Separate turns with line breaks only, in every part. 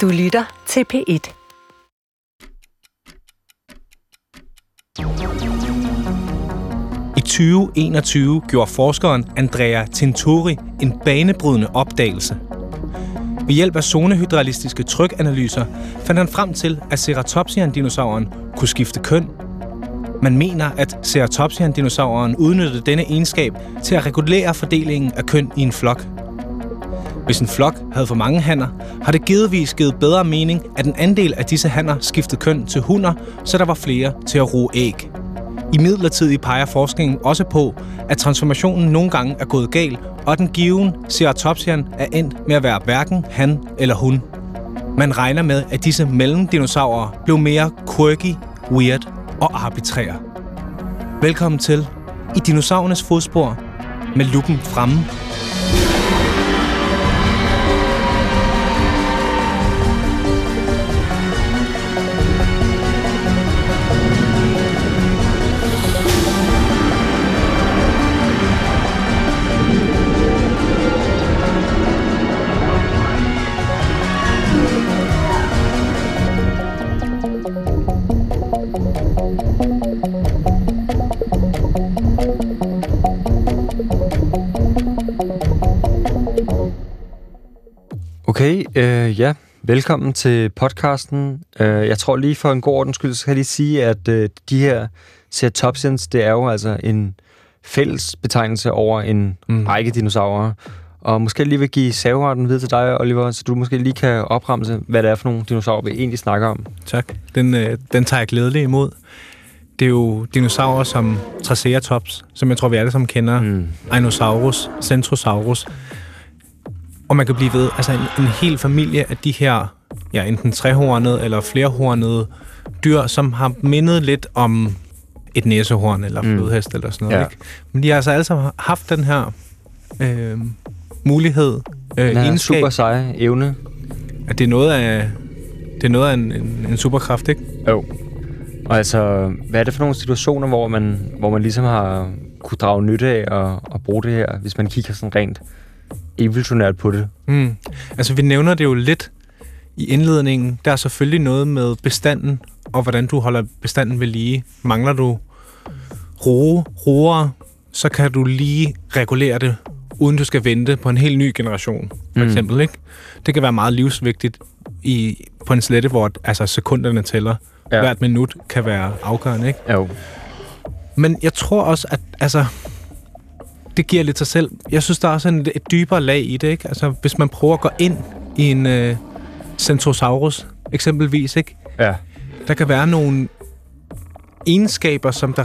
Du lytter til P1.
I 2021 gjorde forskeren Andrea Tintori en banebrydende opdagelse. Ved hjælp af zonehydralistiske trykanalyser fandt han frem til, at Ceratopsian-dinosauren kunne skifte køn. Man mener, at Ceratopsian-dinosauren udnyttede denne egenskab til at regulere fordelingen af køn i en flok. Hvis en flok havde for mange hanner, har det givetvis givet bedre mening, at en andel af disse hanner skiftede køn til hunder, så der var flere til at roe æg. I midlertidig peger forskningen også på, at transformationen nogle gange er gået galt, og den given ceratopsian er endt med at være hverken han eller hun. Man regner med, at disse mellemdinosaurer blev mere quirky, weird og arbitrære. Velkommen til I dinosaurernes fodspor med luppen fremme.
Okay, øh, ja. Velkommen til podcasten. Øh, jeg tror lige for en god ordens skyld, så skal jeg lige sige, at øh, de her ceratopsians, det er jo altså en fælles betegnelse over en
Mm.
mm. række dinosaurer. Og måske lige vil give saveretten videre til dig, Oliver, så du måske lige kan opremse, hvad det er for nogle dinosaurer, vi egentlig snakker om.
Tak. Den, øh, den tager jeg glædeligt imod. Det er jo dinosaurer som Triceratops, som jeg tror, vi alle sammen kender. Mm. Ainosaurus, Centrosaurus. Og man kan blive ved, altså en, en hel familie af de her, ja, enten trehornede eller flerhornede dyr, som har mindet lidt om et næsehorn eller
Mm.
flodhest mm. eller sådan noget.
Ja.
Ja. Ikke? Men de har altså alle sammen haft den her øh, mulighed, øh,
Den her
egenskab,
super seje evne.
at det er noget af, det er noget af en, en, en superkraft, ikke?
Jo. Og altså, hvad er det for nogle situationer, hvor man, hvor man ligesom har kunne drage nytte af og, og bruge det her, hvis man kigger sådan rent evolutionært på det?
Mm. Altså, vi nævner det jo lidt i indledningen. Der er selvfølgelig noget med bestanden, og hvordan du holder bestanden ved lige. Mangler du roe, roer, så kan du lige regulere det, uden du skal vente på en helt ny generation, for
Mm.
mm. eksempel. Ikke? Det kan være meget livsvigtigt i, på en slette, hvor altså, sekunderne tæller.
Ja.
Ja. Hvert minut kan være afgørende. Ikke?
Jo.
Men jeg tror også, at altså, det giver lidt sig selv. Jeg synes, der er også en, et dybere lag i det. Ikke? Altså, hvis man prøver at gå ind i en øh, Centrosaurus, eksempelvis, ikke?
Ja.
der kan være nogle egenskaber, som der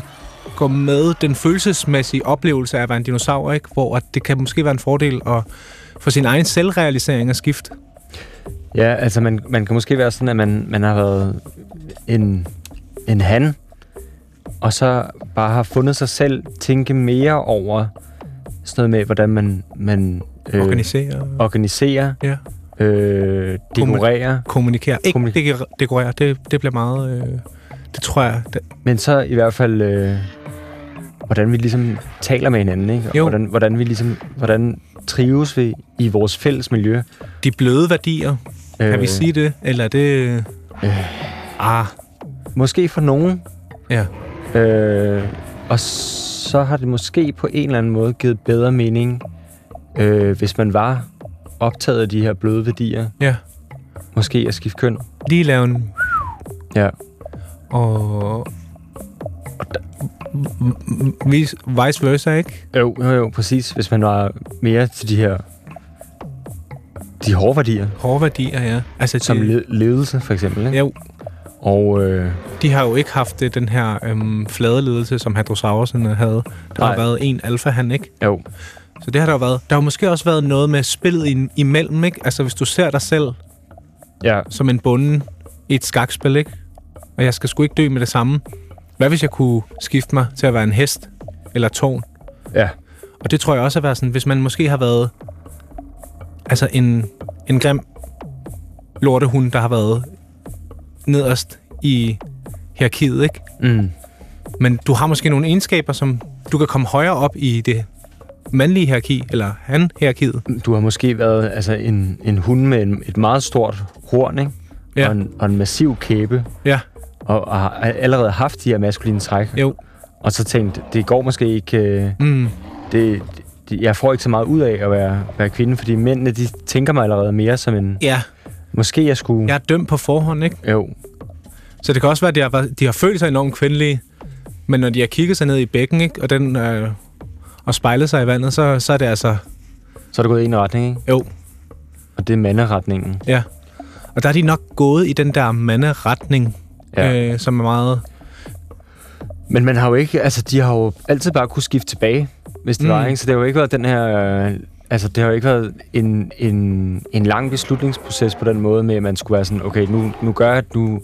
går med den følelsesmæssige oplevelse af at være en dinosaur, ikke? hvor at det kan måske være en fordel at få sin egen selvrealisering at skifte.
Ja, altså man, man kan måske være sådan, at man, man har været en, en han, og så bare har fundet sig selv tænke mere over sådan noget med, hvordan man, man
Øh. Organisere,
organiserer,
ja.
øh, dekorerer,
kommunikere. Ikke
Kommunik-
Kommunik- dekorere, det, det bliver meget... Øh, det tror jeg, det,
Men så i hvert fald, øh, hvordan vi ligesom taler med hinanden, ikke? Og
Jo.
Hvordan, hvordan vi ligesom, hvordan trives vi i vores fælles miljø. Øh,
de bløde værdier, Kan vi sige det? Eller er det... Ah,
Måske for nogen,
ja.
øh, og så har det måske på en eller anden måde givet bedre mening, øh, hvis man var optaget af de her bløde værdier.
Ja.
Måske at skifte køn.
Lige lave en...
Ja.
Og... og der- m- m- vis- Vice versa, ikke?
Jo, jo, jo, præcis. Hvis man var mere til de her de hårde værdier,
Hårde værdier, ja. Altså,
som
de,
le- ledelse for eksempel. Ikke?
jo,
Og øh,
de har jo ikke haft øh, den her øhm, flade ledelse, som hadrosaurusen øh, havde. Der
Nej.
har været en alfa han ikke?
jo,
Så det har der jo været. Der har måske også været noget med spillet i, imellem, ikke? Altså, hvis du ser dig selv
ja,
som en bonde i et skakspil, ikke? Og jeg skal sgu ikke dø med det samme. Hvad hvis jeg kunne skifte mig til at være en hest eller tårn?
ja.
Og det tror jeg også at være sådan, hvis man måske har været altså en, en grim lortehund, der har været nederst i hierarkiet, ikke?
Mm.
Men du har måske nogle egenskaber, som du kan komme højere op i det mandlige hierarki, eller han-hierarkiet.
Du har måske været altså, en, en hund med en, et meget stort horn, ikke?
Ja.
Og, en, og en massiv kæbe,
Ja,
og, og har allerede haft de her maskuline træk.
jo.
Og så tænkt, det går måske ikke... Øh,
Mm.
det, det, jeg får ikke så meget ud af at være, være kvinde, fordi mændene, de tænker mig allerede mere som en...
Ja,
Måske jeg skulle...
jeg er dømt på forhånd, ikke?
Jo,
Så det kan også være, at de har, været- de har følt sig enormt kvindelige, men når de har kigget sig ned i bækken, ikke? Og, den, øh, og spejlet sig i vandet, så, så er det altså...
så er det gået i en retning, ikke?
Jo,
Og det er manderetningen.
ja. Og der er de nok gået i den der manderetning,
Ja. Øh.
ja. øh, som er meget...
Men man har jo ikke... Altså, de har jo altid bare kunne skifte tilbage, hvis det
Mm.
mm. var, ikke? Så det har jo ikke været den her... Øh, altså, det har jo ikke været en, en, en lang beslutningsproces på den måde med, at man skulle være sådan, okay, nu, nu gør jeg... Nu,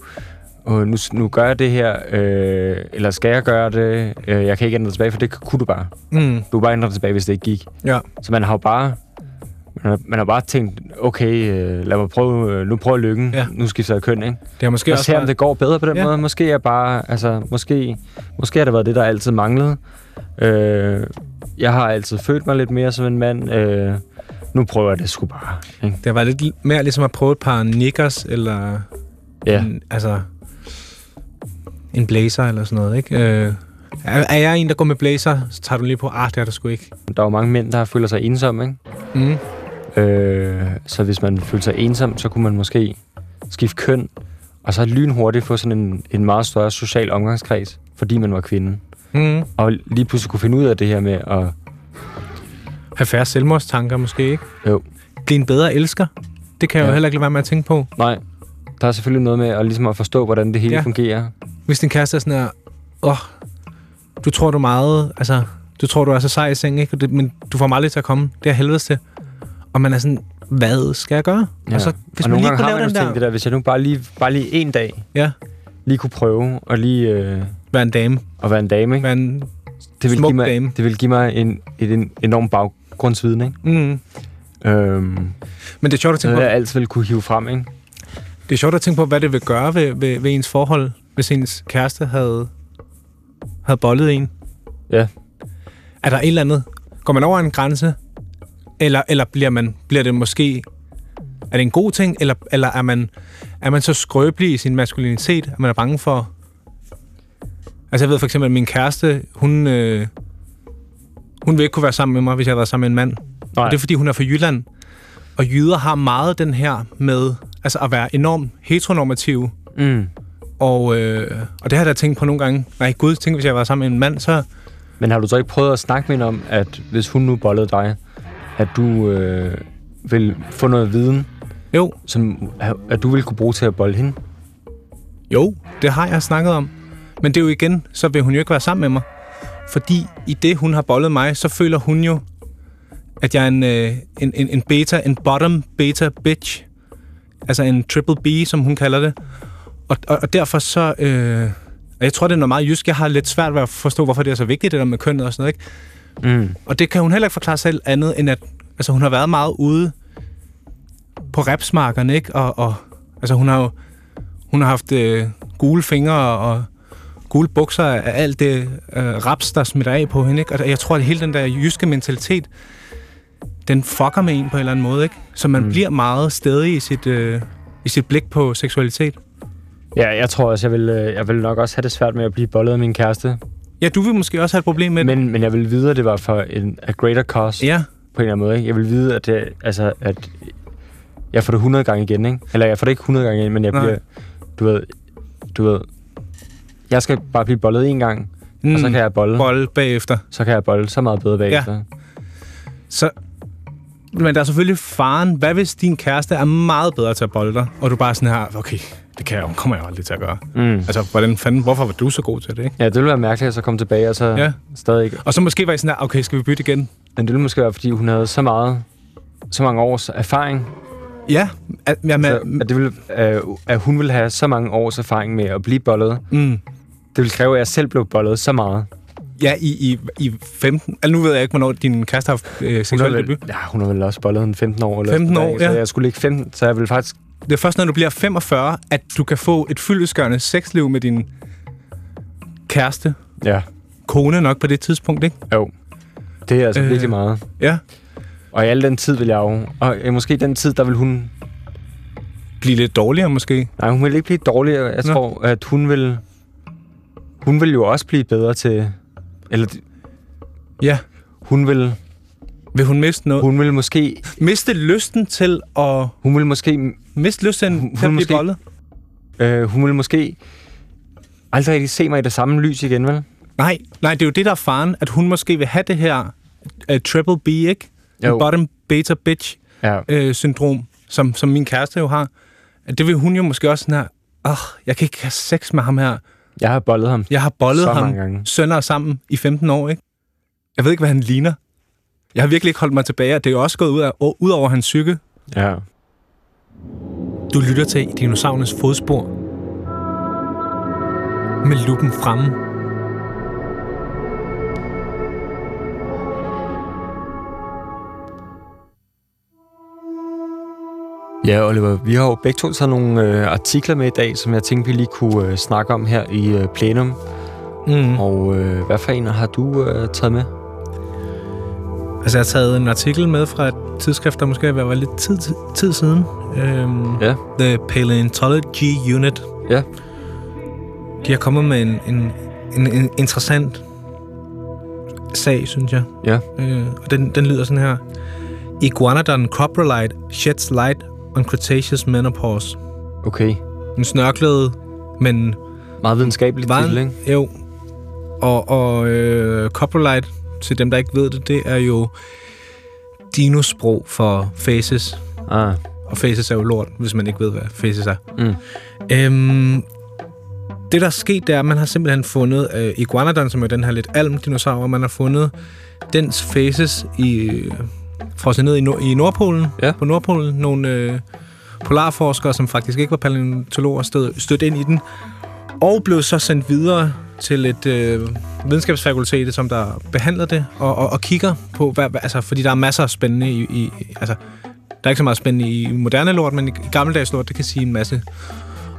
øh, nu, nu gør jeg det her, øh, eller skal jeg gøre det? Øh, jeg kan ikke ændre det tilbage, for det kunne du bare.
Mm,
Du kunne bare ændre det tilbage, hvis det ikke gik.
ja.
Så man har jo bare, man har, man har bare tænkt, okay, øh, lad mig prøve, øh, nu prøver lykken,
Ja.
ja. nu skifter jeg køn, ikke?
Det har måske
Og
også
se, om
været,
det går bedre på den
Ja.
ja. måde. Måske er bare, altså, måske, måske har det været det, der altid manglede. Øh, jeg har altid følt mig lidt mere som en mand. Øh, nu prøver jeg det sgu bare, ikke?
det har været lidt mere ligesom at prøve et par knickers, eller
Ja.
en, altså en blazer eller sådan noget, ikke? Øh, er, er jeg en, der går med blazer, så tager du lige på, ah, det er der sgu ikke.
Der er jo mange mænd, der føler sig ensomme, ikke?
Mm.
Øh, så hvis man følte sig ensom, så kunne man måske skifte køn, og så lynhurtigt få sådan en, en meget større social omgangskreds, fordi man var kvinde.
Mm.
og lige pludselig kunne finde ud af det her med at...
Have færre selvmordstanker måske, ikke?
Jo.
Blive en bedre elsker. Det kan jeg ja. jo
Ja.
heller ikke lade være med at tænke på.
Nej, der er selvfølgelig noget med at, ligesom at forstå, hvordan det hele
Ja.
ja. fungerer.
Hvis din kæreste er sådan her, åh, oh, du tror du er meget, altså, du tror du er så sej i seng, ikke? Og Det, men du får mig aldrig til at komme. Det er jeg helvedes til. Og man er sådan, hvad skal jeg gøre?
Ja.
Og så, hvis
og
man
nogle
lige
gange
kunne
har
lave
man jo
den
tænkt
der,
det der, hvis jeg nu bare lige, bare lige en dag
ja,
lige kunne prøve at lige øh,
være en dame,
at være en dame, ikke?
være en,
Det ville,
smuk
give mig,
dame.
det ville give mig en, et en enorm baggrundsviden, ikke?
mm.
Øhm,
Men det er sjovt at tænke
noget,
på,
jeg altid ville kunne hive frem, ikke?
Det er sjovt at tænke på, hvad det ville gøre ved, ved, ved ens forhold, hvis ens kæreste havde, havde boldet en.
Ja.
Er der et eller andet? Går man over en grænse? Eller, eller bliver, man, bliver det måske... Er det en god ting? Eller, eller er, man, er man så skrøbelig i sin maskulinitet, at man er bange for... Altså jeg ved for eksempel, at min kæreste, hun... Øh, hun vil ikke kunne være sammen med mig, hvis jeg havde været sammen med en mand.
Nej,
Og det er, fordi hun er fra Jylland. Og jyder har meget den her med altså at være enormt heteronormativ.
mm.
Og, øh, og det har jeg da tænkt på nogle gange. Nej, gud, tænk, hvis jeg var sammen med en mand, så...
Men har du så ikke prøvet at snakke med hende om, at hvis hun nu bollede dig, at du øh, vil få noget viden,
Jo,
som at du vil kunne bruge til at bolle hende?
jo, det har jeg snakket om. Men det er jo igen, så vil hun jo ikke være sammen med mig. Fordi i det, hun har bollet mig, så føler hun jo, at jeg er en, øh, en, en, en beta, en bottom beta bitch. Altså en triple B, som hun kalder det. Og, og, og derfor så... Øh, og jeg tror, det er noget meget jysk. Jeg har lidt svært ved at forstå, hvorfor det er så vigtigt, det der med kønnet og sådan noget, ikke?
Mm.
Og det kan hun heller ikke forklare selv andet, end at altså, hun har været meget ude på rapsmarkerne, ikke? Og, og altså, hun har jo hun har haft øh, gule fingre og gule bukser af alt det øh, raps, der smitter af på hende, ikke? Og jeg tror, at hele den der jyske mentalitet, den fucker med en på en eller anden måde, ikke? Så man mm. bliver meget stedig i sit, øh, i sit blik på seksualitet.
Ja, jeg tror også, jeg vil, øh, jeg vil nok også have det svært med at blive bollet af min kæreste.
Ja, du vil måske også have et problem med det.
Men, men jeg vil vide, at det var for en a greater cause ja.
Ja,
på en eller anden måde. Ikke? Jeg vil vide, at, det, altså, at jeg får det 100 gange igen. Ikke? Eller jeg får det ikke 100 gange igen, men jeg
Nej.
bliver... Du ved, du ved, jeg skal bare blive bollet en gang, mm. og så
Mm.
kan jeg bolle.
bold bagefter.
Så kan jeg bolle så meget bedre bagefter. Ja.
Så, men der er selvfølgelig faren. Hvad hvis din kæreste er meget bedre til at bolde dig, og du bare er sådan her, okay, det kan jeg jo, kommer jeg jo aldrig til at gøre.
Mm.
Altså, hvordan fanden, hvorfor var du så god til det, ikke?
Ja, det ville være mærkeligt at så komme tilbage, og så
Ja.
ja. stadig ikke.
Og så måske var I sådan her, okay, skal vi bytte igen?
Men det ville måske være, fordi hun havde så meget så mange års erfaring.
Ja, at, ja men,
så, at, det ville, øh, at hun ville have så mange års erfaring med at blive bollet,
mm,
Det ville kræve, at jeg selv blev bollet så meget.
ja i, i, i 15... Altså, nu ved jeg ikke, hvornår din kæreste har haft øh, seksuel debut.
vel, ja, hun har vel også bollet en 15 år. Eller
15
sådan
år,
noget, ikke?
ja.
Så jeg skulle ikke 15, så jeg ville faktisk...
Det er først, når du bliver 45, at du kan få et fyldesgørende sexliv med din kæreste,
Ja,
kone nok på det tidspunkt, ikke?
jo. Det er altså øh,
Øh.
virkelig meget.
Ja.
Og i al den tid vil jeg jo... Og øh, måske i den tid, der vil hun...
Blive lidt dårligere måske.
Nej, hun vil ikke blive dårligere. Jeg
Nå.
tror, at hun vil... Hun vil jo også blive bedre til... Eller det-
Ja.
hun vil,
Vil hun miste noget? Hun...
hun vil måske...
Miste lysten til at...
Hun vil måske
Miste lysten
Hun- hun
til at blive
måske-
bollet?
Øh, hun vil måske aldrig rigtig se mig i det samme lys igen, vel?
Nej, nej, det er jo det, der er faren, at hun måske vil have det her uh, triple B, ikke?
Jo.
Jo. Bottom beta bitch
Ja.
øh, syndrom, som, som min kæreste jo har. At Det vil hun jo måske også sådan her, åh, jeg kan ikke have sex med ham her.
Jeg har bollet ham.
Jeg har bollet
Så
ham
mange gange.
sønder sammen i 15 år, ikke? Jeg ved ikke, hvad han ligner. Jeg har virkelig ikke holdt mig tilbage, og det er jo også gået ud, af, ud over hans psyke.
Ja.
Du lytter til dinosaurernes fodspor med luppen fremme.
Ja, Oliver, vi har jo begge to taget nogle øh, artikler med i dag, som jeg tænkte, vi lige kunne øh, snakke om her i øh, plenum.
Mm.
Og øh, hvad for en har du øh, taget med?
Altså, jeg har taget en artikel med fra et tidsskrift, der måske var lidt tid, tid siden. Øhm,
Ja.
The Paleontology Unit.
Ja.
De har kommet med en, en, en, en interessant sag, synes jeg.
Ja.
Øh, og den, den lyder sådan her. Iguanodon coprolite sheds light on Cretaceous menopause.
Okay.
En snørklede, men
Meget videnskabelig
Var-
titel, ikke?
Jo. Og, og øh, copperlight, til dem, der ikke ved det, det er jo dinosprog for faces.
Ah,
Og faces er jo lort, hvis man ikke ved, hvad faces er.
Mm.
Øhm, det, der er sket, det er, at man har simpelthen fundet øh, Iguanodon, som er den her lidt alm-dinosaur, man har fundet dens faces i, øh, frosset ned i, nord, i Nordpolen,
Ja.
på Nordpolen. Nogle øh, polarforskere, som faktisk ikke var paleontologer, stød, stødt ind i den, og blev så sendt videre til et øh, videnskabsfakultet, som der behandler det, og, og, og kigger på, hvad, hvad, altså, fordi der er masser af spændende i, i, altså, der er ikke så meget spændende i moderne lort, men i gammeldags lort, det kan sige en masse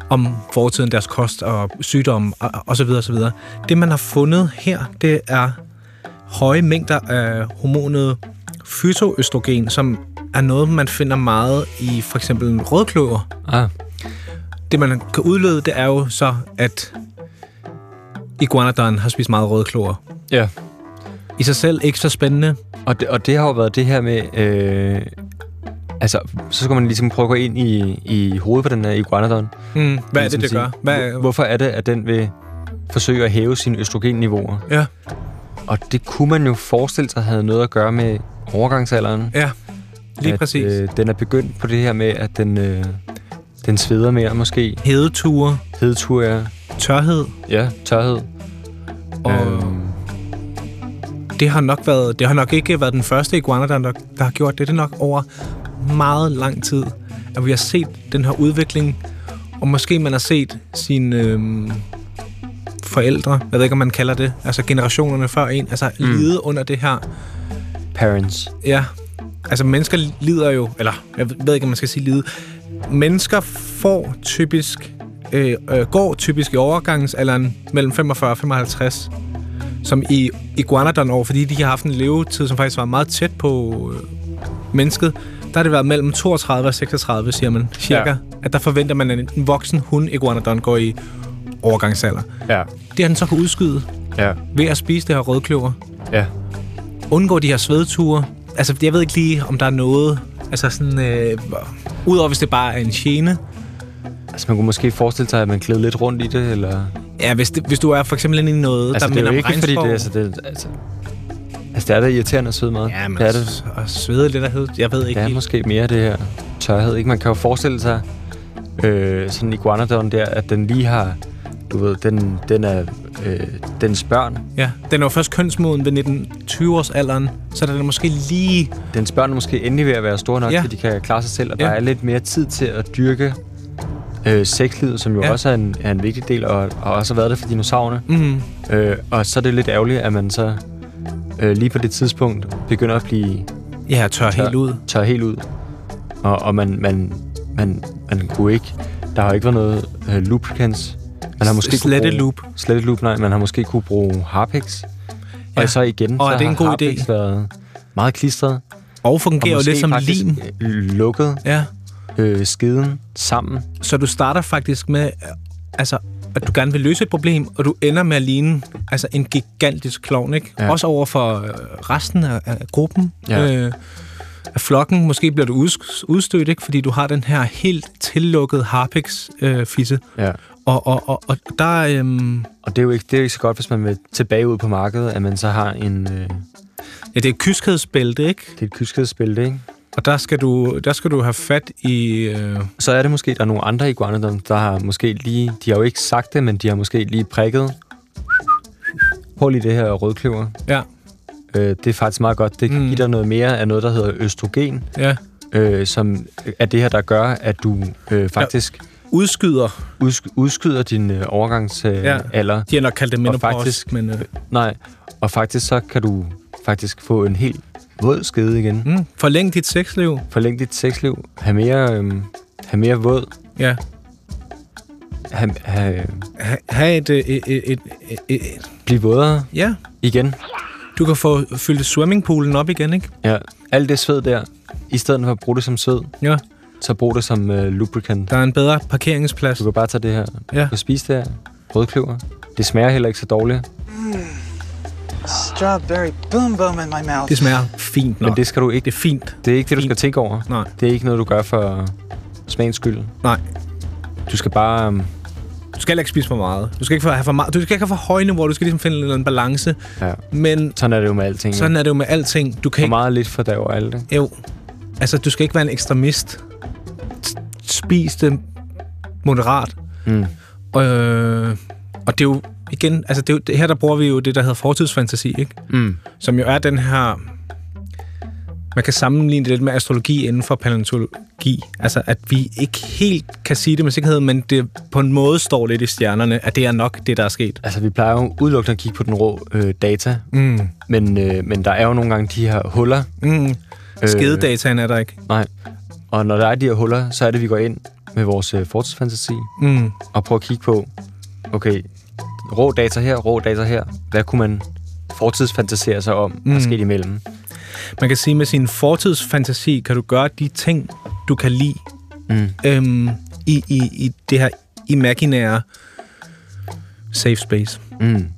om fortiden, deres kost og sygdomme og, og så videre, og så videre. Det, man har fundet her, det er høje mængder af hormonet fytoøstrogen, som er noget, man finder meget i for eksempel en rødkløver.
ah,
Det, man kan udlede, det er jo så, at iguanodon har spist meget rødkløver.
ja.
I sig selv ikke så spændende.
Og det, og det har jo været det her med... Øh, altså, så skal man ligesom prøve at gå ind i, i hovedet på den her iguanodon.
Mm, hvad er det, det
Ligesom
gør?
sige,
Hvad,
hvor- Hvorfor er det, at den vil forsøge at hæve sine østrogenniveauer?
ja,
Og det kunne man jo forestille sig havde noget at gøre med overgangsalderen.
ja, lige
at,
præcis.
Øh, den er begyndt på det her med, at den, øh, den sveder mere måske.
Hedeture,
Hedetur er
tørhed,
ja, tørhed.
og...
Øhm,
det har nok været, det har nok ikke været den første iguanodon, der, der har gjort det. Det er nok over meget lang tid, at vi har set den her udvikling, og måske man har set sine øhm, forældre, jeg ved ikke, om man kalder det, altså generationerne før en, altså mm. lide under det her.
parents.
Ja, altså mennesker lider jo, eller jeg ved ikke, om man skal sige lide. Mennesker får typisk, øh, øh, går typisk i overgangsalderen mellem 45 og 55, som i iguanodon år, fordi de har haft en levetid, som faktisk var meget tæt på øh, mennesket, der har det været mellem 32 og 36, siger man, cirka.
Ja.
Ja. At der forventer man, at en voksen hund iguanodon går i overgangsalder.
Ja,
Det har den så kunne udskyde
ja,
ved at spise det her rødkløver
ja.
undgå de her svedture. Altså, jeg ved ikke lige, om der er noget... Altså sådan... Øh, Udover hvis det bare er en gene.
Altså, man kunne måske forestille sig, at man glæder lidt rundt i det, eller...
Ja, hvis, det, hvis du er for eksempel inde i noget,
Altså,
der
det er
minder
jo
om
ikke, fordi
regnskov.
det, altså, det, altså, altså, det er da irriterende at svede meget.
Ja, men
det er det.
og svede lidt af hed. Jeg ved ikke
Det er
helt.
måske mere det her tørhed, ikke? Man kan jo forestille sig øh, sådan en iguanodon der, at den lige har, du ved, den, den er øh, dens børn.
Ja, den er jo først kønsmoden ved 1920-årsalderen, så den er måske lige...
Dens børn er måske endelig ved at være store nok, ja.
Ja.
så de kan klare sig selv, og ja.
Ja.
der er lidt mere tid til at dyrke øh, sexlivet, som jo ja.
Ja.
også er en, er en vigtig del, og, og også har været det for dinosaurerne.
Mm,
Øh, og så er det lidt ærgerligt, at man så øh, lige på det tidspunkt begynder at blive
ja, tør, helt ud.
tør helt ud. Og, og man, man, man, man kunne ikke... Der har jo ikke været noget øh, lubricants. Man har måske
Slette
kunne bruge,
loop.
Slette loop, nej. Man har måske kunne bruge harpix. Og så igen,
Og
så
er det en
har
god idé?
harpiks været meget klistret.
Og fungerer
og
jo
måske
lidt som
faktisk,
lim.
øh, lukket
Ja.
øh, skiden sammen.
Så du starter faktisk med, øh, altså, at du gerne vil løse et problem, og du ender med at ligne altså, en gigantisk klovn, ikke? Ja.
Ja.
Også over for øh, resten af, af gruppen.
Ja.
Øh, af flokken. Måske bliver du uds- udstødt, ikke? Fordi du har den her helt tillukkede harpix-fisse.
Ja.
og, og, og, og der... Øhm,
Og det er jo ikke, det er jo ikke så godt, hvis man vil tilbage ud på markedet, at man så har en, øh,
ja, det er et kyskhedsbælte, ikke?
det er et kyskhedsbælte, ikke?
Og der skal du, der skal du have fat i... Øh,
Så er det måske, der er nogle andre iguaner, der, der har måske lige, de har jo ikke sagt det, men de har måske lige prikket. Prøv lige det her rødkløver.
ja,
Øh, det er faktisk meget godt. Det kan
Mm.
give dig noget mere af noget, der hedder østrogen,
ja.
øh, som er det her, der gør, at du øh, faktisk
Udskyder.
udsk- udskyder din øh, overgangsalder. Øh,
Ja.
alder.
De har nok kaldt det menopause,
faktisk-
men... Øh,
Nej, og faktisk så kan du faktisk få en helt våd skede igen.
mm, forlæng dit sexliv.
Forlæng dit sexliv. Have mere, øh, have mere våd.
Ja.
Have, have,
Ha, ha et, øh, et, et, et, et, et...
blive vådere
Ja.
igen.
Du kan få fyldt swimmingpoolen op igen, ikke?
Ja, alt det sved der, i stedet for at bruge det som sved,
Ja.
så brug det som øh, lubricant.
Der er en bedre parkeringsplads.
Du kan bare tage det her.
Ja.
Du kan spise det her. Rødkløver. Det smager heller ikke så dårligt,
Strawberry boom boom in my mouth.
Det smager fint
Nå.
nok.
men det skal du ikke.
det er fint.
Det er ikke det, du skal tænke over.
Nej.
Det er ikke noget, du gør for smagens skyld.
Nej.
Du skal bare... øhm,
Du skal heller ikke spise for meget. Du skal ikke have for meget. Du skal ikke have for høje niveauer. Du skal ligesom finde en eller anden balance.
Ja.
Men
Sådan er det jo med alting. jo.
sådan er det jo med alting. Du kan
For
ikke
meget lidt for dag og alt. ikke?
Jo. Altså, du skal ikke være en ekstremist. S- Spis det moderat.
Mm.
Øh, og det er jo igen, altså det, er jo, det her der bruger vi jo det, der hedder fortidsfantasi, ikke?
Mm.
Som jo er den her... Man kan sammenligne det lidt med astrologi inden for paleontologi. Altså, at vi ikke helt kan sige det med sikkerhed, men det på en måde står lidt i stjernerne, at det er nok det, der er sket.
Altså, vi plejer jo udelukkende at kigge på den rå øh, data,
Mm.
men, øh, men der er jo nogle gange de her huller.
Mm.
Øh.
Skededataen er der ikke.
Nej. Og når der er de her huller, så er det, vi går ind med vores øh, fortidsfantasi
Mm.
og prøver at kigge på, okay, rå data her, rå data her. Hvad kunne man fortidsfantasere sig om, mm. der skete imellem?
Man kan sige, at med sin fortidsfantasi kan du gøre de ting, du kan lide
Mm.
øhm, i, i, i det her imaginære safe space.
Mm.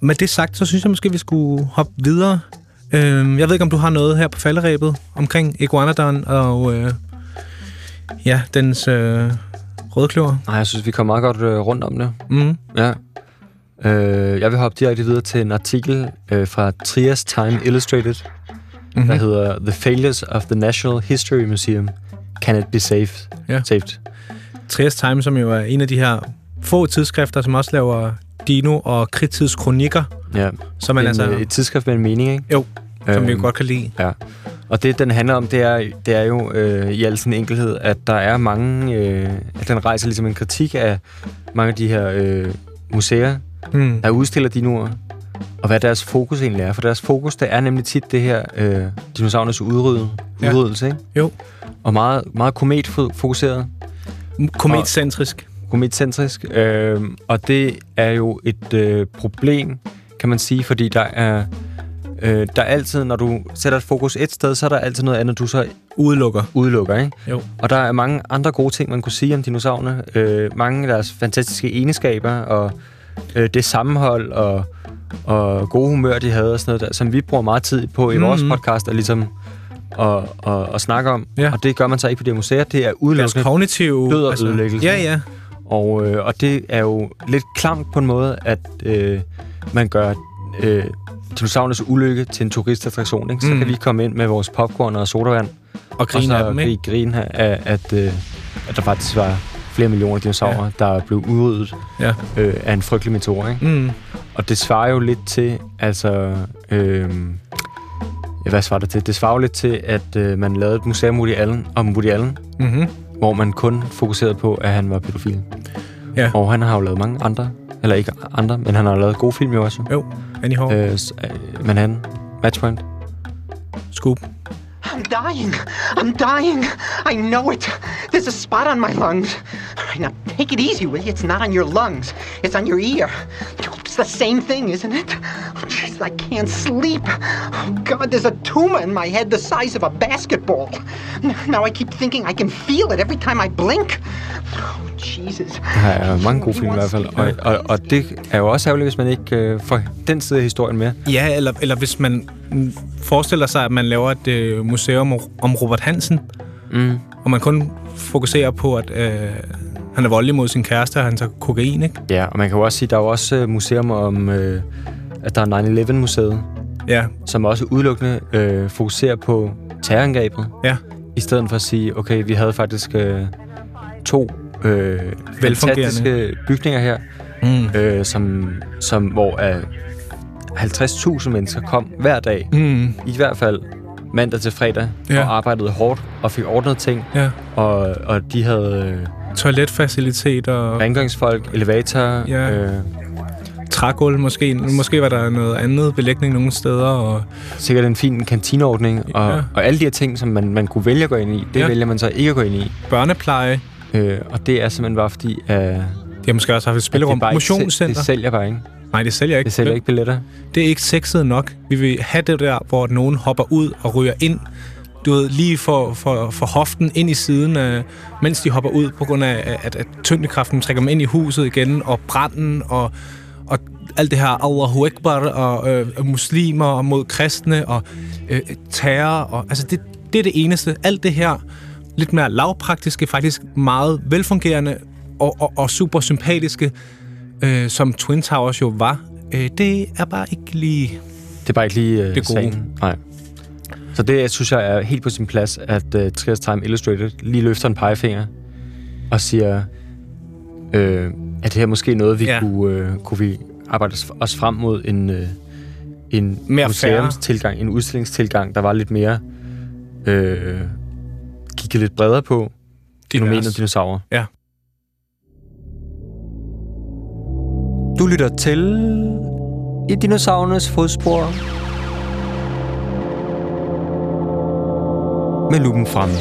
Med det sagt, så synes jeg måske, vi skulle hoppe videre. Øhm, jeg ved ikke, om du har noget her på falderæbet omkring Iguanodon og øh, ja, dens øh, rødkløver.
Nej, jeg synes, vi kommer meget godt øh, rundt om det.
Mm.
Ja. Øh, jeg vil hoppe direkte videre til en artikel øh, fra Trias Time Illustrated, mm-hmm. der
Mhm.
hedder The Failures of the National History Museum. Can it be saved?
Ja.
saved?
Trias Time, som jo er en af de her få tidsskrifter, som også laver dino- og kritidskronikker,
Ja.
som, man
en,
altså,
øh, Et tidsskrift med en mening, ikke?
jo, som vi jo
Øhm,
godt kan lide.
Ja. Og det, den handler om, det er, det er jo øh, i al sin enkelhed, at der er mange... Øh, at den rejser ligesom en kritik af mange af de her øh, museer,
Mm.
der udstiller dinoer, og hvad deres fokus egentlig er. For deres fokus, det er nemlig tit det her øh, dinosaurernes udrydde,
Ja.
udryddelse, ikke?
Jo,
Og meget, meget kometfokuseret,
Mm. kometcentrisk.
kometcentrisk. Øh, og det er jo et øh, problem, kan man sige, fordi der er... Øh, der er altid, når du sætter et fokus et sted, så er der altid noget andet, du så
Udelukker.
udelukker, ikke?
Jo.
Og der er mange andre gode ting, man kunne sige om dinosaurerne. Øh, mange af deres fantastiske egenskaber, og øh, det sammenhold, og, og gode humør, de havde, og sådan noget, der, som vi bruger meget tid på i mm. vores
Mhm.
podcast, og ligesom og, og, og snakke om.
Ja.
Og det gør man så ikke på det museer. Det er
Deres
udelukkende.
kognitive...
Død og ødelæggelse.
altså- Ja, ja.
Og, øh, og det er jo lidt klamt på en måde, at øh, man gør øh, dinosaurernes ulykke til en turistattraktion. Ikke? Så
Mm.
kan vi komme ind med vores popcorn og sodavand,
Og grine
og så
af dem, ikke?
grin af, af- at, øh, at der faktisk var flere millioner dinosaurer, ja. der blev udryddet
Ja.
øh, af en frygtelig meteor. Ikke?
Mm.
Og det svarer jo lidt til, altså... Øh, ja, hvad svarer det til? Det svarer jo lidt til, at øh, man lavede et museum Woody Allen, om Woody Allen,
Mm-hmm.
hvor man kun fokuserede på, at han var pædofil.
Ja.
Og han har jo lavet mange andre, eller ikke andre, men han har lavet gode film jo også.
Jo, Annie Hall. Øh.
Øh, s- øh, men han, Matchpoint,
Scoop.
I'm dying. I'm dying. I know it. There's a spot on my lungs. All right, now take it easy, will you? It's not on your lungs. It's on your ear. It's the same thing, isn't it? Oh, jeez. eyes. I can't sleep. Oh, God, there's a tumor in my head the size of a basketball. N- Now I keep thinking I can feel it every time I blink. Oh, Jesus.
Der er mange gode film i hvert fald. Og, og, og det er jo også ærgerligt, hvis man ikke øh, får den side af historien med.
Ja, eller, eller hvis man mm, forestiller sig, at man laver et øh, museum om Robert Hansen,
Mm.
og man kun fokuserer på, at øh, han er voldelig mod sin kæreste, og han tager kokain, ikke?
Ja, og man kan jo også sige, at der er jo også øh, museum om, øh, at der er 9-11-museet,
Ja,
som også udelukkende øh, fokuserer på terrorangrebet,
ja.
i stedet for at sige, okay, vi havde faktisk øh, to øh, fantastiske bygninger her,
Mm.
øh, som, som, hvor øh, 50.000 mennesker kom hver dag,
Mm.
i hvert fald mandag til fredag,
Ja.
og arbejdede hårdt og fik ordnet ting,
Ja.
og, og de havde øh,
Toiletfaciliteter og
rengøringsfolk, elevator,
Ja.
øh,
trægulv måske. Måske var der noget andet belægning nogle steder. Og...
sikkert en fin kantineordning, og,
Ja.
ja. og alle de her ting, som man, man kunne vælge at gå ind i, det
Ja.
ja. vælger man så ikke at gå ind i.
børnepleje.
Øh, og det er simpelthen bare fordi, at, at
De har måske også haft et spillerum.
bare ikke, sæl-
Motionscenter.
det sælger bare ikke.
Nej, det sælger ikke.
Det sælger ikke billetter.
det er ikke sexet nok. Vi vil have det der, hvor nogen hopper ud og ryger ind. Du ved, lige for, for, for hoften ind i siden, øh, mens de hopper ud, på grund af, at, at tyngdekraften trækker dem ind i huset igen, og branden, og, og alt det her Allahu Akbar, og øh, og muslimer og mod kristne, og øh, terror, og altså det, det er det eneste. Alt det her lidt mere lavpraktiske, faktisk meget velfungerende og, og, og super sympatiske, øh, som Twin Towers jo var, øh, det er bare ikke lige...
Det er bare ikke lige øh,
Det er gode.
sagen. Nej. Så det, synes jeg, er helt på sin plads, at uh, Trias Time Illustrated lige løfter en pegefinger og siger, øh, at det her måske noget, vi
Ja.
ja. kunne, øh, kunne vi arbejde os- os frem mod en, øh, en
Mere fair.
museumstilgang, en udstillingstilgang, der var lidt mere... Øh, kiggede lidt bredere på fænomenet dinosaurer.
Ja.
Du lytter til i dinosaurernes fodspor. Med lupen fremme.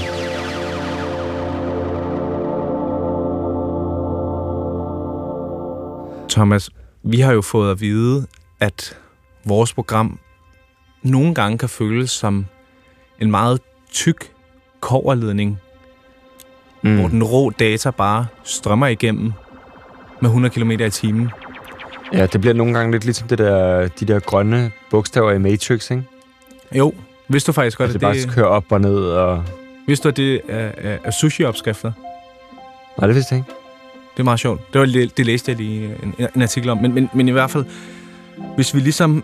Thomas, vi har jo fået at vide, at vores program nogle gange kan føles som en meget tyk koverledning, mm. hvor den rå data bare strømmer igennem med 100 km i timen.
Ja, det bliver nogle gange lidt ligesom det der, de der grønne bogstaver i Matrix, ikke?
Jo, vidste du faktisk godt,
Altså,
at
det bare
det,
kører op og ned og...
vidste du, at det er, er, er sushi-opskrifter?
Nej, det vidste jeg ikke.
Det er meget sjovt. Det, var, det det læste jeg lige øh, en, en artikel om. Men, men, men i hvert fald, hvis vi ligesom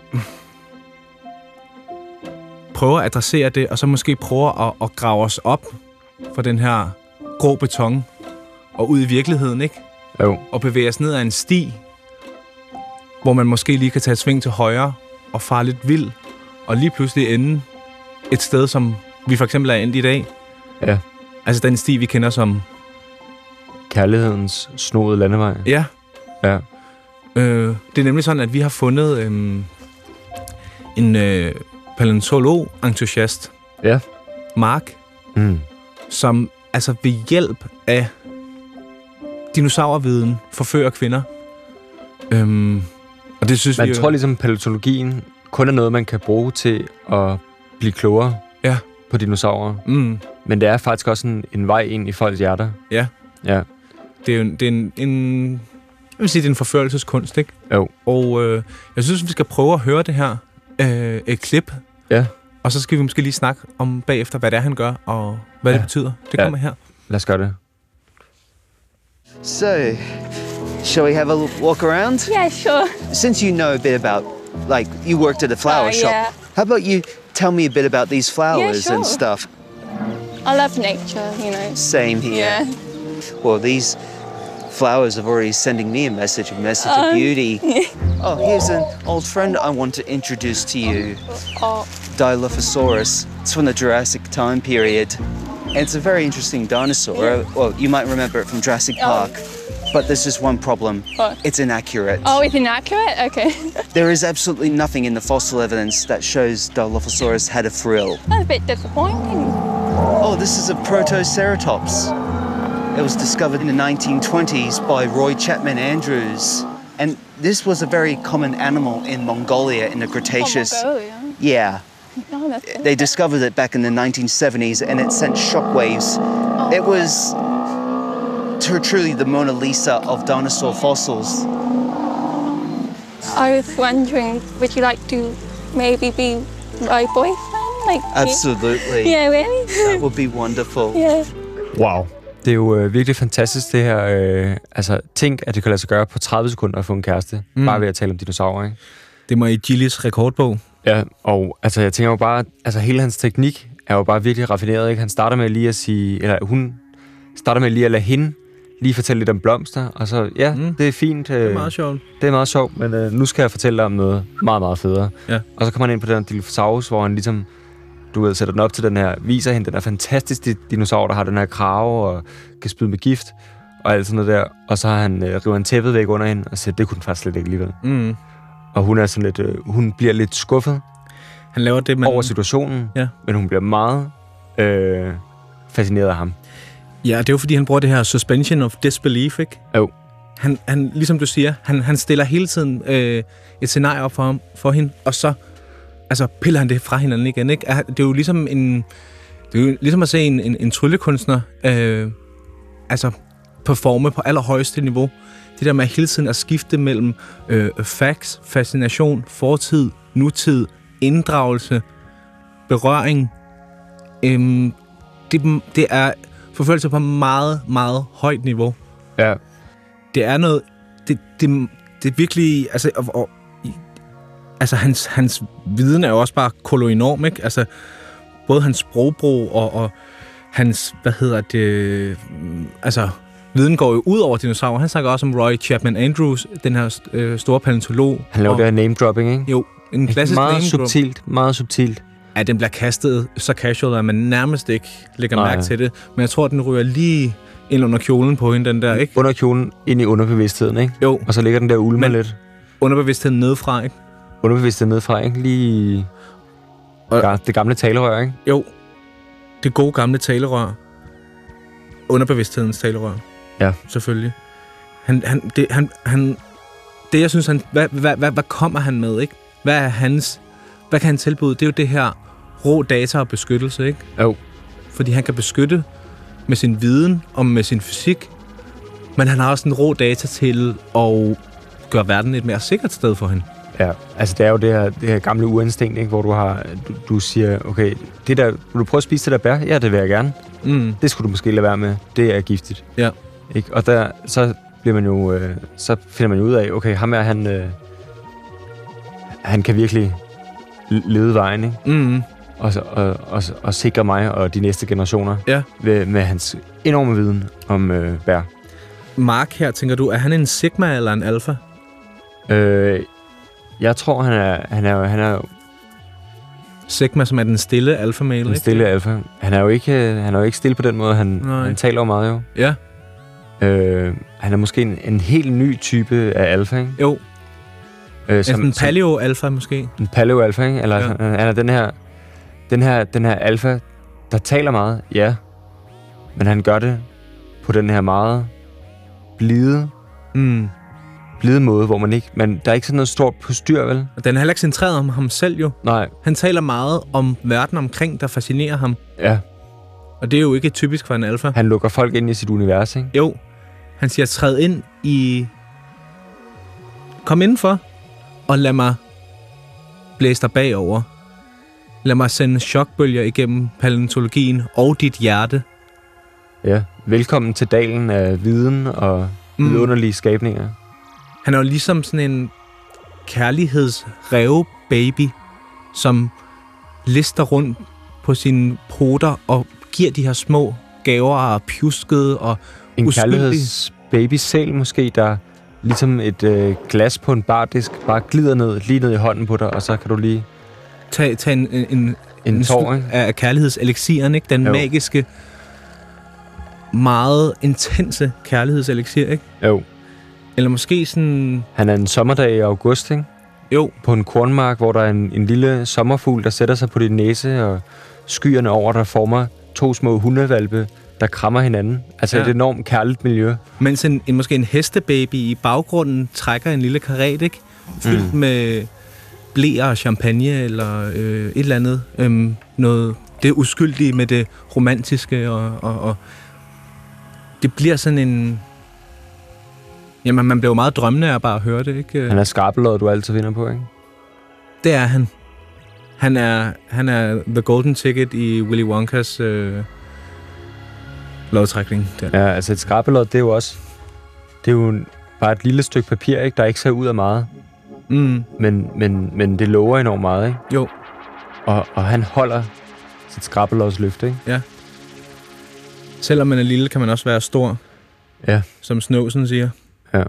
prøver at adressere det, og så måske prøver at, at grave os op fra den her grå beton og ud i virkeligheden, ikke?
Jo,
Og bevæge os ned ad en sti, hvor man måske lige kan tage et sving til højre og fare lidt vild, og lige pludselig ende et sted, som vi for eksempel er endt i dag.
Ja.
Altså den sti, vi kender som...
kærlighedens snoede landevej.
Ja,
Ja.
Øh, det er nemlig sådan, at vi har fundet øh, en øh, paleontolog-entusiast,
Ja.
Mark,
Mm.
som altså ved hjælp af dinosaurviden forfører kvinder. Øhm, og det synes vi
Man
jo-
tror ligesom, palæontologien kun er noget, man kan bruge til at blive klogere
Ja.
på dinosaurer.
mm,
Men det er faktisk også en, en vej ind i folks hjerter.
Ja.
Ja.
det er jo en, det er en, en, jeg vil sige, det er en forførelseskunst, ikke?
Jo.
Og øh, jeg synes, vi skal prøve at høre det her øh, et klip.
Ja.
Og så skal vi måske lige snakke om bagefter, hvad det er, han gør, og hvad ja.
Ja.
det betyder. Det
Ja.
kommer her.
Lad os gøre det.
So, shall we have a l- walk around?
Yeah, sure.
Since you know a bit about, like, you worked at a flower
Oh,
shop,
yeah.
how about you tell me a bit about these flowers and
sure.
stuff?
I love nature, you know.
Same here.
Yeah.
Well, these flowers are already sending me a message, a message of
Um,
beauty. oh, here's an old friend I want to introduce to you,
Oh,
Dilophosaurus. It's from the Jurassic time period. And it's a very interesting dinosaur. Well, you might remember it from Jurassic
Oh.
Park. But there's just one problem.
What?
It's inaccurate.
oh, it's inaccurate? Okay.
There is absolutely nothing in the fossil evidence that shows Dilophosaurus had a frill.
That's a bit disappointing.
Oh, this is a Protoceratops. It was discovered in the 1920s by Roy Chapman Andrews. And this was a very common animal in Mongolia in the Cretaceous.
Oh, Mongolia.
Yeah.
Oh, that's
They discovered it back in the 1970s and it sent shockwaves.
Oh.
It was tr- truly the Mona Lisa of dinosaur fossils.
I was wondering, would you like to maybe be my boyfriend? Like, you-
Absolutely.
Yeah, really?
That would be wonderful.
yeah.
Wow. Det er jo øh, virkelig fantastisk, det her. Øh, altså, tænk, at det kan lade sig gøre på 30 sekunder at få en kæreste. Mm. Bare ved at tale om dinosaurer, ikke?
Det må i Gillis rekordbog.
Ja, og altså, jeg tænker jo bare, altså hele hans teknik er jo bare virkelig raffineret, ikke? Han starter med lige at sige, eller hun starter med lige at lade hende lige fortælle lidt om blomster, og så, ja, mm. det er fint. Øh, det er
sjovt.
Det er meget sjovt, men øh, nu skal jeg fortælle dig om noget meget, meget federe.
Ja.
Og så kommer han ind på den her Dilophosaurus, hvor han ligesom, du ved, sætter den op til den her, viser hende den her fantastiske dinosaur, der har den her krave og kan spyde med gift og alt sådan noget der. Og så har han, øh, river han tæppet væk under hende og siger, det kunne den faktisk slet ikke alligevel.
Mm.
Og hun er sådan lidt, øh, hun bliver lidt skuffet
Han laver det, man...
men, over situationen,
Ja.
men hun bliver meget øh, fascineret af ham.
Ja, det er jo fordi, han bruger det her suspension of disbelief, ikke?
Jo.
Han, han ligesom du siger, han, han stiller hele tiden øh, et scenarie op for, ham, for hende, og så altså, piller han det fra hinanden igen, ikke? Er- Det er jo ligesom en... Det er jo ligesom at se en, en, en tryllekunstner øh, altså, performe på allerhøjeste niveau. Det der med hele tiden at skifte mellem øh, facts, fascination, fortid, nutid, inddragelse, berøring. Øhm, det, det er forfølgelse på meget, meget højt niveau.
Ja.
Det er noget... Det, det, det er virkelig... Altså, og, og, i- altså hans, hans viden er jo også bare koloenorm, ikke? Altså, både hans sprogbrug og, og hans... Hvad hedder det... mm, Altså, viden går jo ud over dinosaurer. Han snakker også om Roy Chapman Andrews, den her øh, store paleontolog.
Han laver
og,
det her name dropping, ikke?
Jo, en klassisk
meget
name drop.
subtilt, meget subtilt.
Ja, den bliver kastet så casual, at man nærmest ikke lægger
Nej.
Nej. mærke til det. Men jeg tror, at den ryger lige ind under kjolen på hende, den der, ikke?
Under kjolen, ind i underbevidstheden, ikke?
Jo,
Og så ligger den der og ulmer
Men-
lidt.
underbevidstheden nedefra, ikke?
Underbevidstheden nedefra, ikke? Lige...
Og-
Ja, det gamle talerør, ikke?
Jo, det gode gamle talerør. Underbevidsthedens talerør.
Ja.
Selvfølgelig. Han, han, det, han, han, det jeg synes, han, hvad, hvad, hvad, hvad kommer han med, ikke? Hvad er hans, hvad kan han tilbyde? Det er jo det her rå data og beskyttelse, ikke?
Jo.
Fordi han kan beskytte med sin viden og med sin fysik, men han har også en rå data til at gøre verden et mere sikkert sted for hende.
Ja, altså det er jo det her, det her gamle urinstinkt, ikke? Hvor du har... Du, du siger, okay, det der... Vil du prøve at spise det der bær? Ja, det vil jeg gerne.
Mm.
Det skulle du måske lade være med. Det er giftigt.
Ja.
Ikke? Og der, så bliver man jo, øh, så finder man jo ud af, okay, ham er han, øh, han kan virkelig l- lede vejen, ikke?
Mm.
Og, så- og, og, og sikre mig og de næste generationer
Ja.
ved, med hans enorme viden om øh, bær.
Mark her, tænker du, er han en sigma eller en alfa?
Øh, jeg tror, han er, han er, han er
Sigma, som er den stille alfamale,
en
ikke?
stille alfa. Han er jo ikke, øh, han er jo ikke stille på den måde, han,
Nej.
han taler jo meget jo.
Ja,
Øh, han er måske en, en helt ny type af alfa, ikke?
jo.
Øh,
Som, Altså, en paleo-alfa måske.
en paleo alfa, ikke? Eller
Ja.
ja. han han er den her, den her, den her alfa, der taler meget, ja. Men han gør det på den her meget blide,
Mm.
blide måde, hvor man ikke, man, der er ikke sådan noget stort postyr, vel?
Og den er heller ikke centreret om ham selv jo.
Nej,
Han taler meget om verden omkring, der fascinerer ham.
ja.
Og det er jo ikke typisk for en alfa.
Han lukker folk ind i sit univers, ikke?
Jo, han siger, træd ind i... Kom indenfor, og lad mig blæse dig bagover. Lad mig sende chokbølger igennem paleontologien og dit hjerte.
Ja. Velkommen til dalen af viden og
Mm.
mm. underlige skabninger.
Han er jo ligesom sådan en kærlighedsreve baby, som lister rundt på sine poter og giver de her små gaver og er pjuskede og
En
Uskyldig.
kærlighedsbabysæl måske, der ligesom et øh, glas på en bardisk bare glider ned, lige ned i hånden på dig, og så kan du lige
tage, tage en, en, en,
en tår,
slu-
ikke?
af kærlighedselixiren, ikke? Den
Jo.
jo. magiske, meget intense kærlighedseliksir, ikke?
Jo.
Eller måske sådan...
Han er en sommerdag i august, ikke?
Jo,
På en kornmark, hvor der er en, en lille sommerfugl, der sætter sig på din næse, og skyerne over, der former to små hundevalpe, der krammer hinanden. Altså
Ja.
ja. et enormt kærligt miljø.
Mens en, en, måske en hestebaby i baggrunden trækker en lille karet, ikke? Fyldt mm. med blæer og champagne eller øh, et eller andet. Øhm, noget, det uskyldige med det romantiske og, og, og... Det bliver sådan en... Jamen, man bliver jo meget drømmende af bare at høre det, ikke?
Han er skarpelåd, du altid vinder på, ikke?
Det er han. Han er, han er the golden ticket i Willy Wonkas øh, lovtrækning. Der.
Ja, altså et skarpelåd, det er jo også... Det er jo en- bare et lille stykke papir, ikke? Der ikke ser ud af meget.
Mm,
Men, men, men det lover enormt meget, ikke?
jo,
Og, og han holder sit skrabbelåds løfte, ikke?
selvom man er lille, kan man også være stor,
Ja.
som Snowsen siger.
Ja.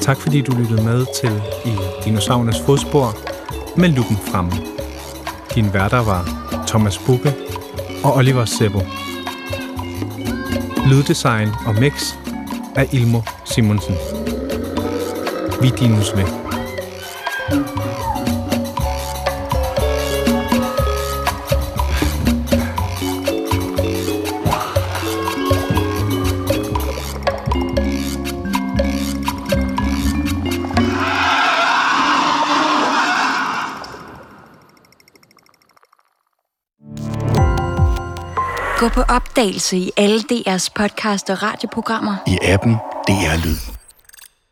Tak fordi du lyttede med til I Dinosaurernes Fodspor med luppen fremme. Din værter var Thomas Bukke og Oliver Sebo. Lyddesign og mix af Ilmo Simonsen. Vi er dinos med.
Gå på opdagelse i alle DR's podcast og radioprogrammer.
I appen DR Lyd.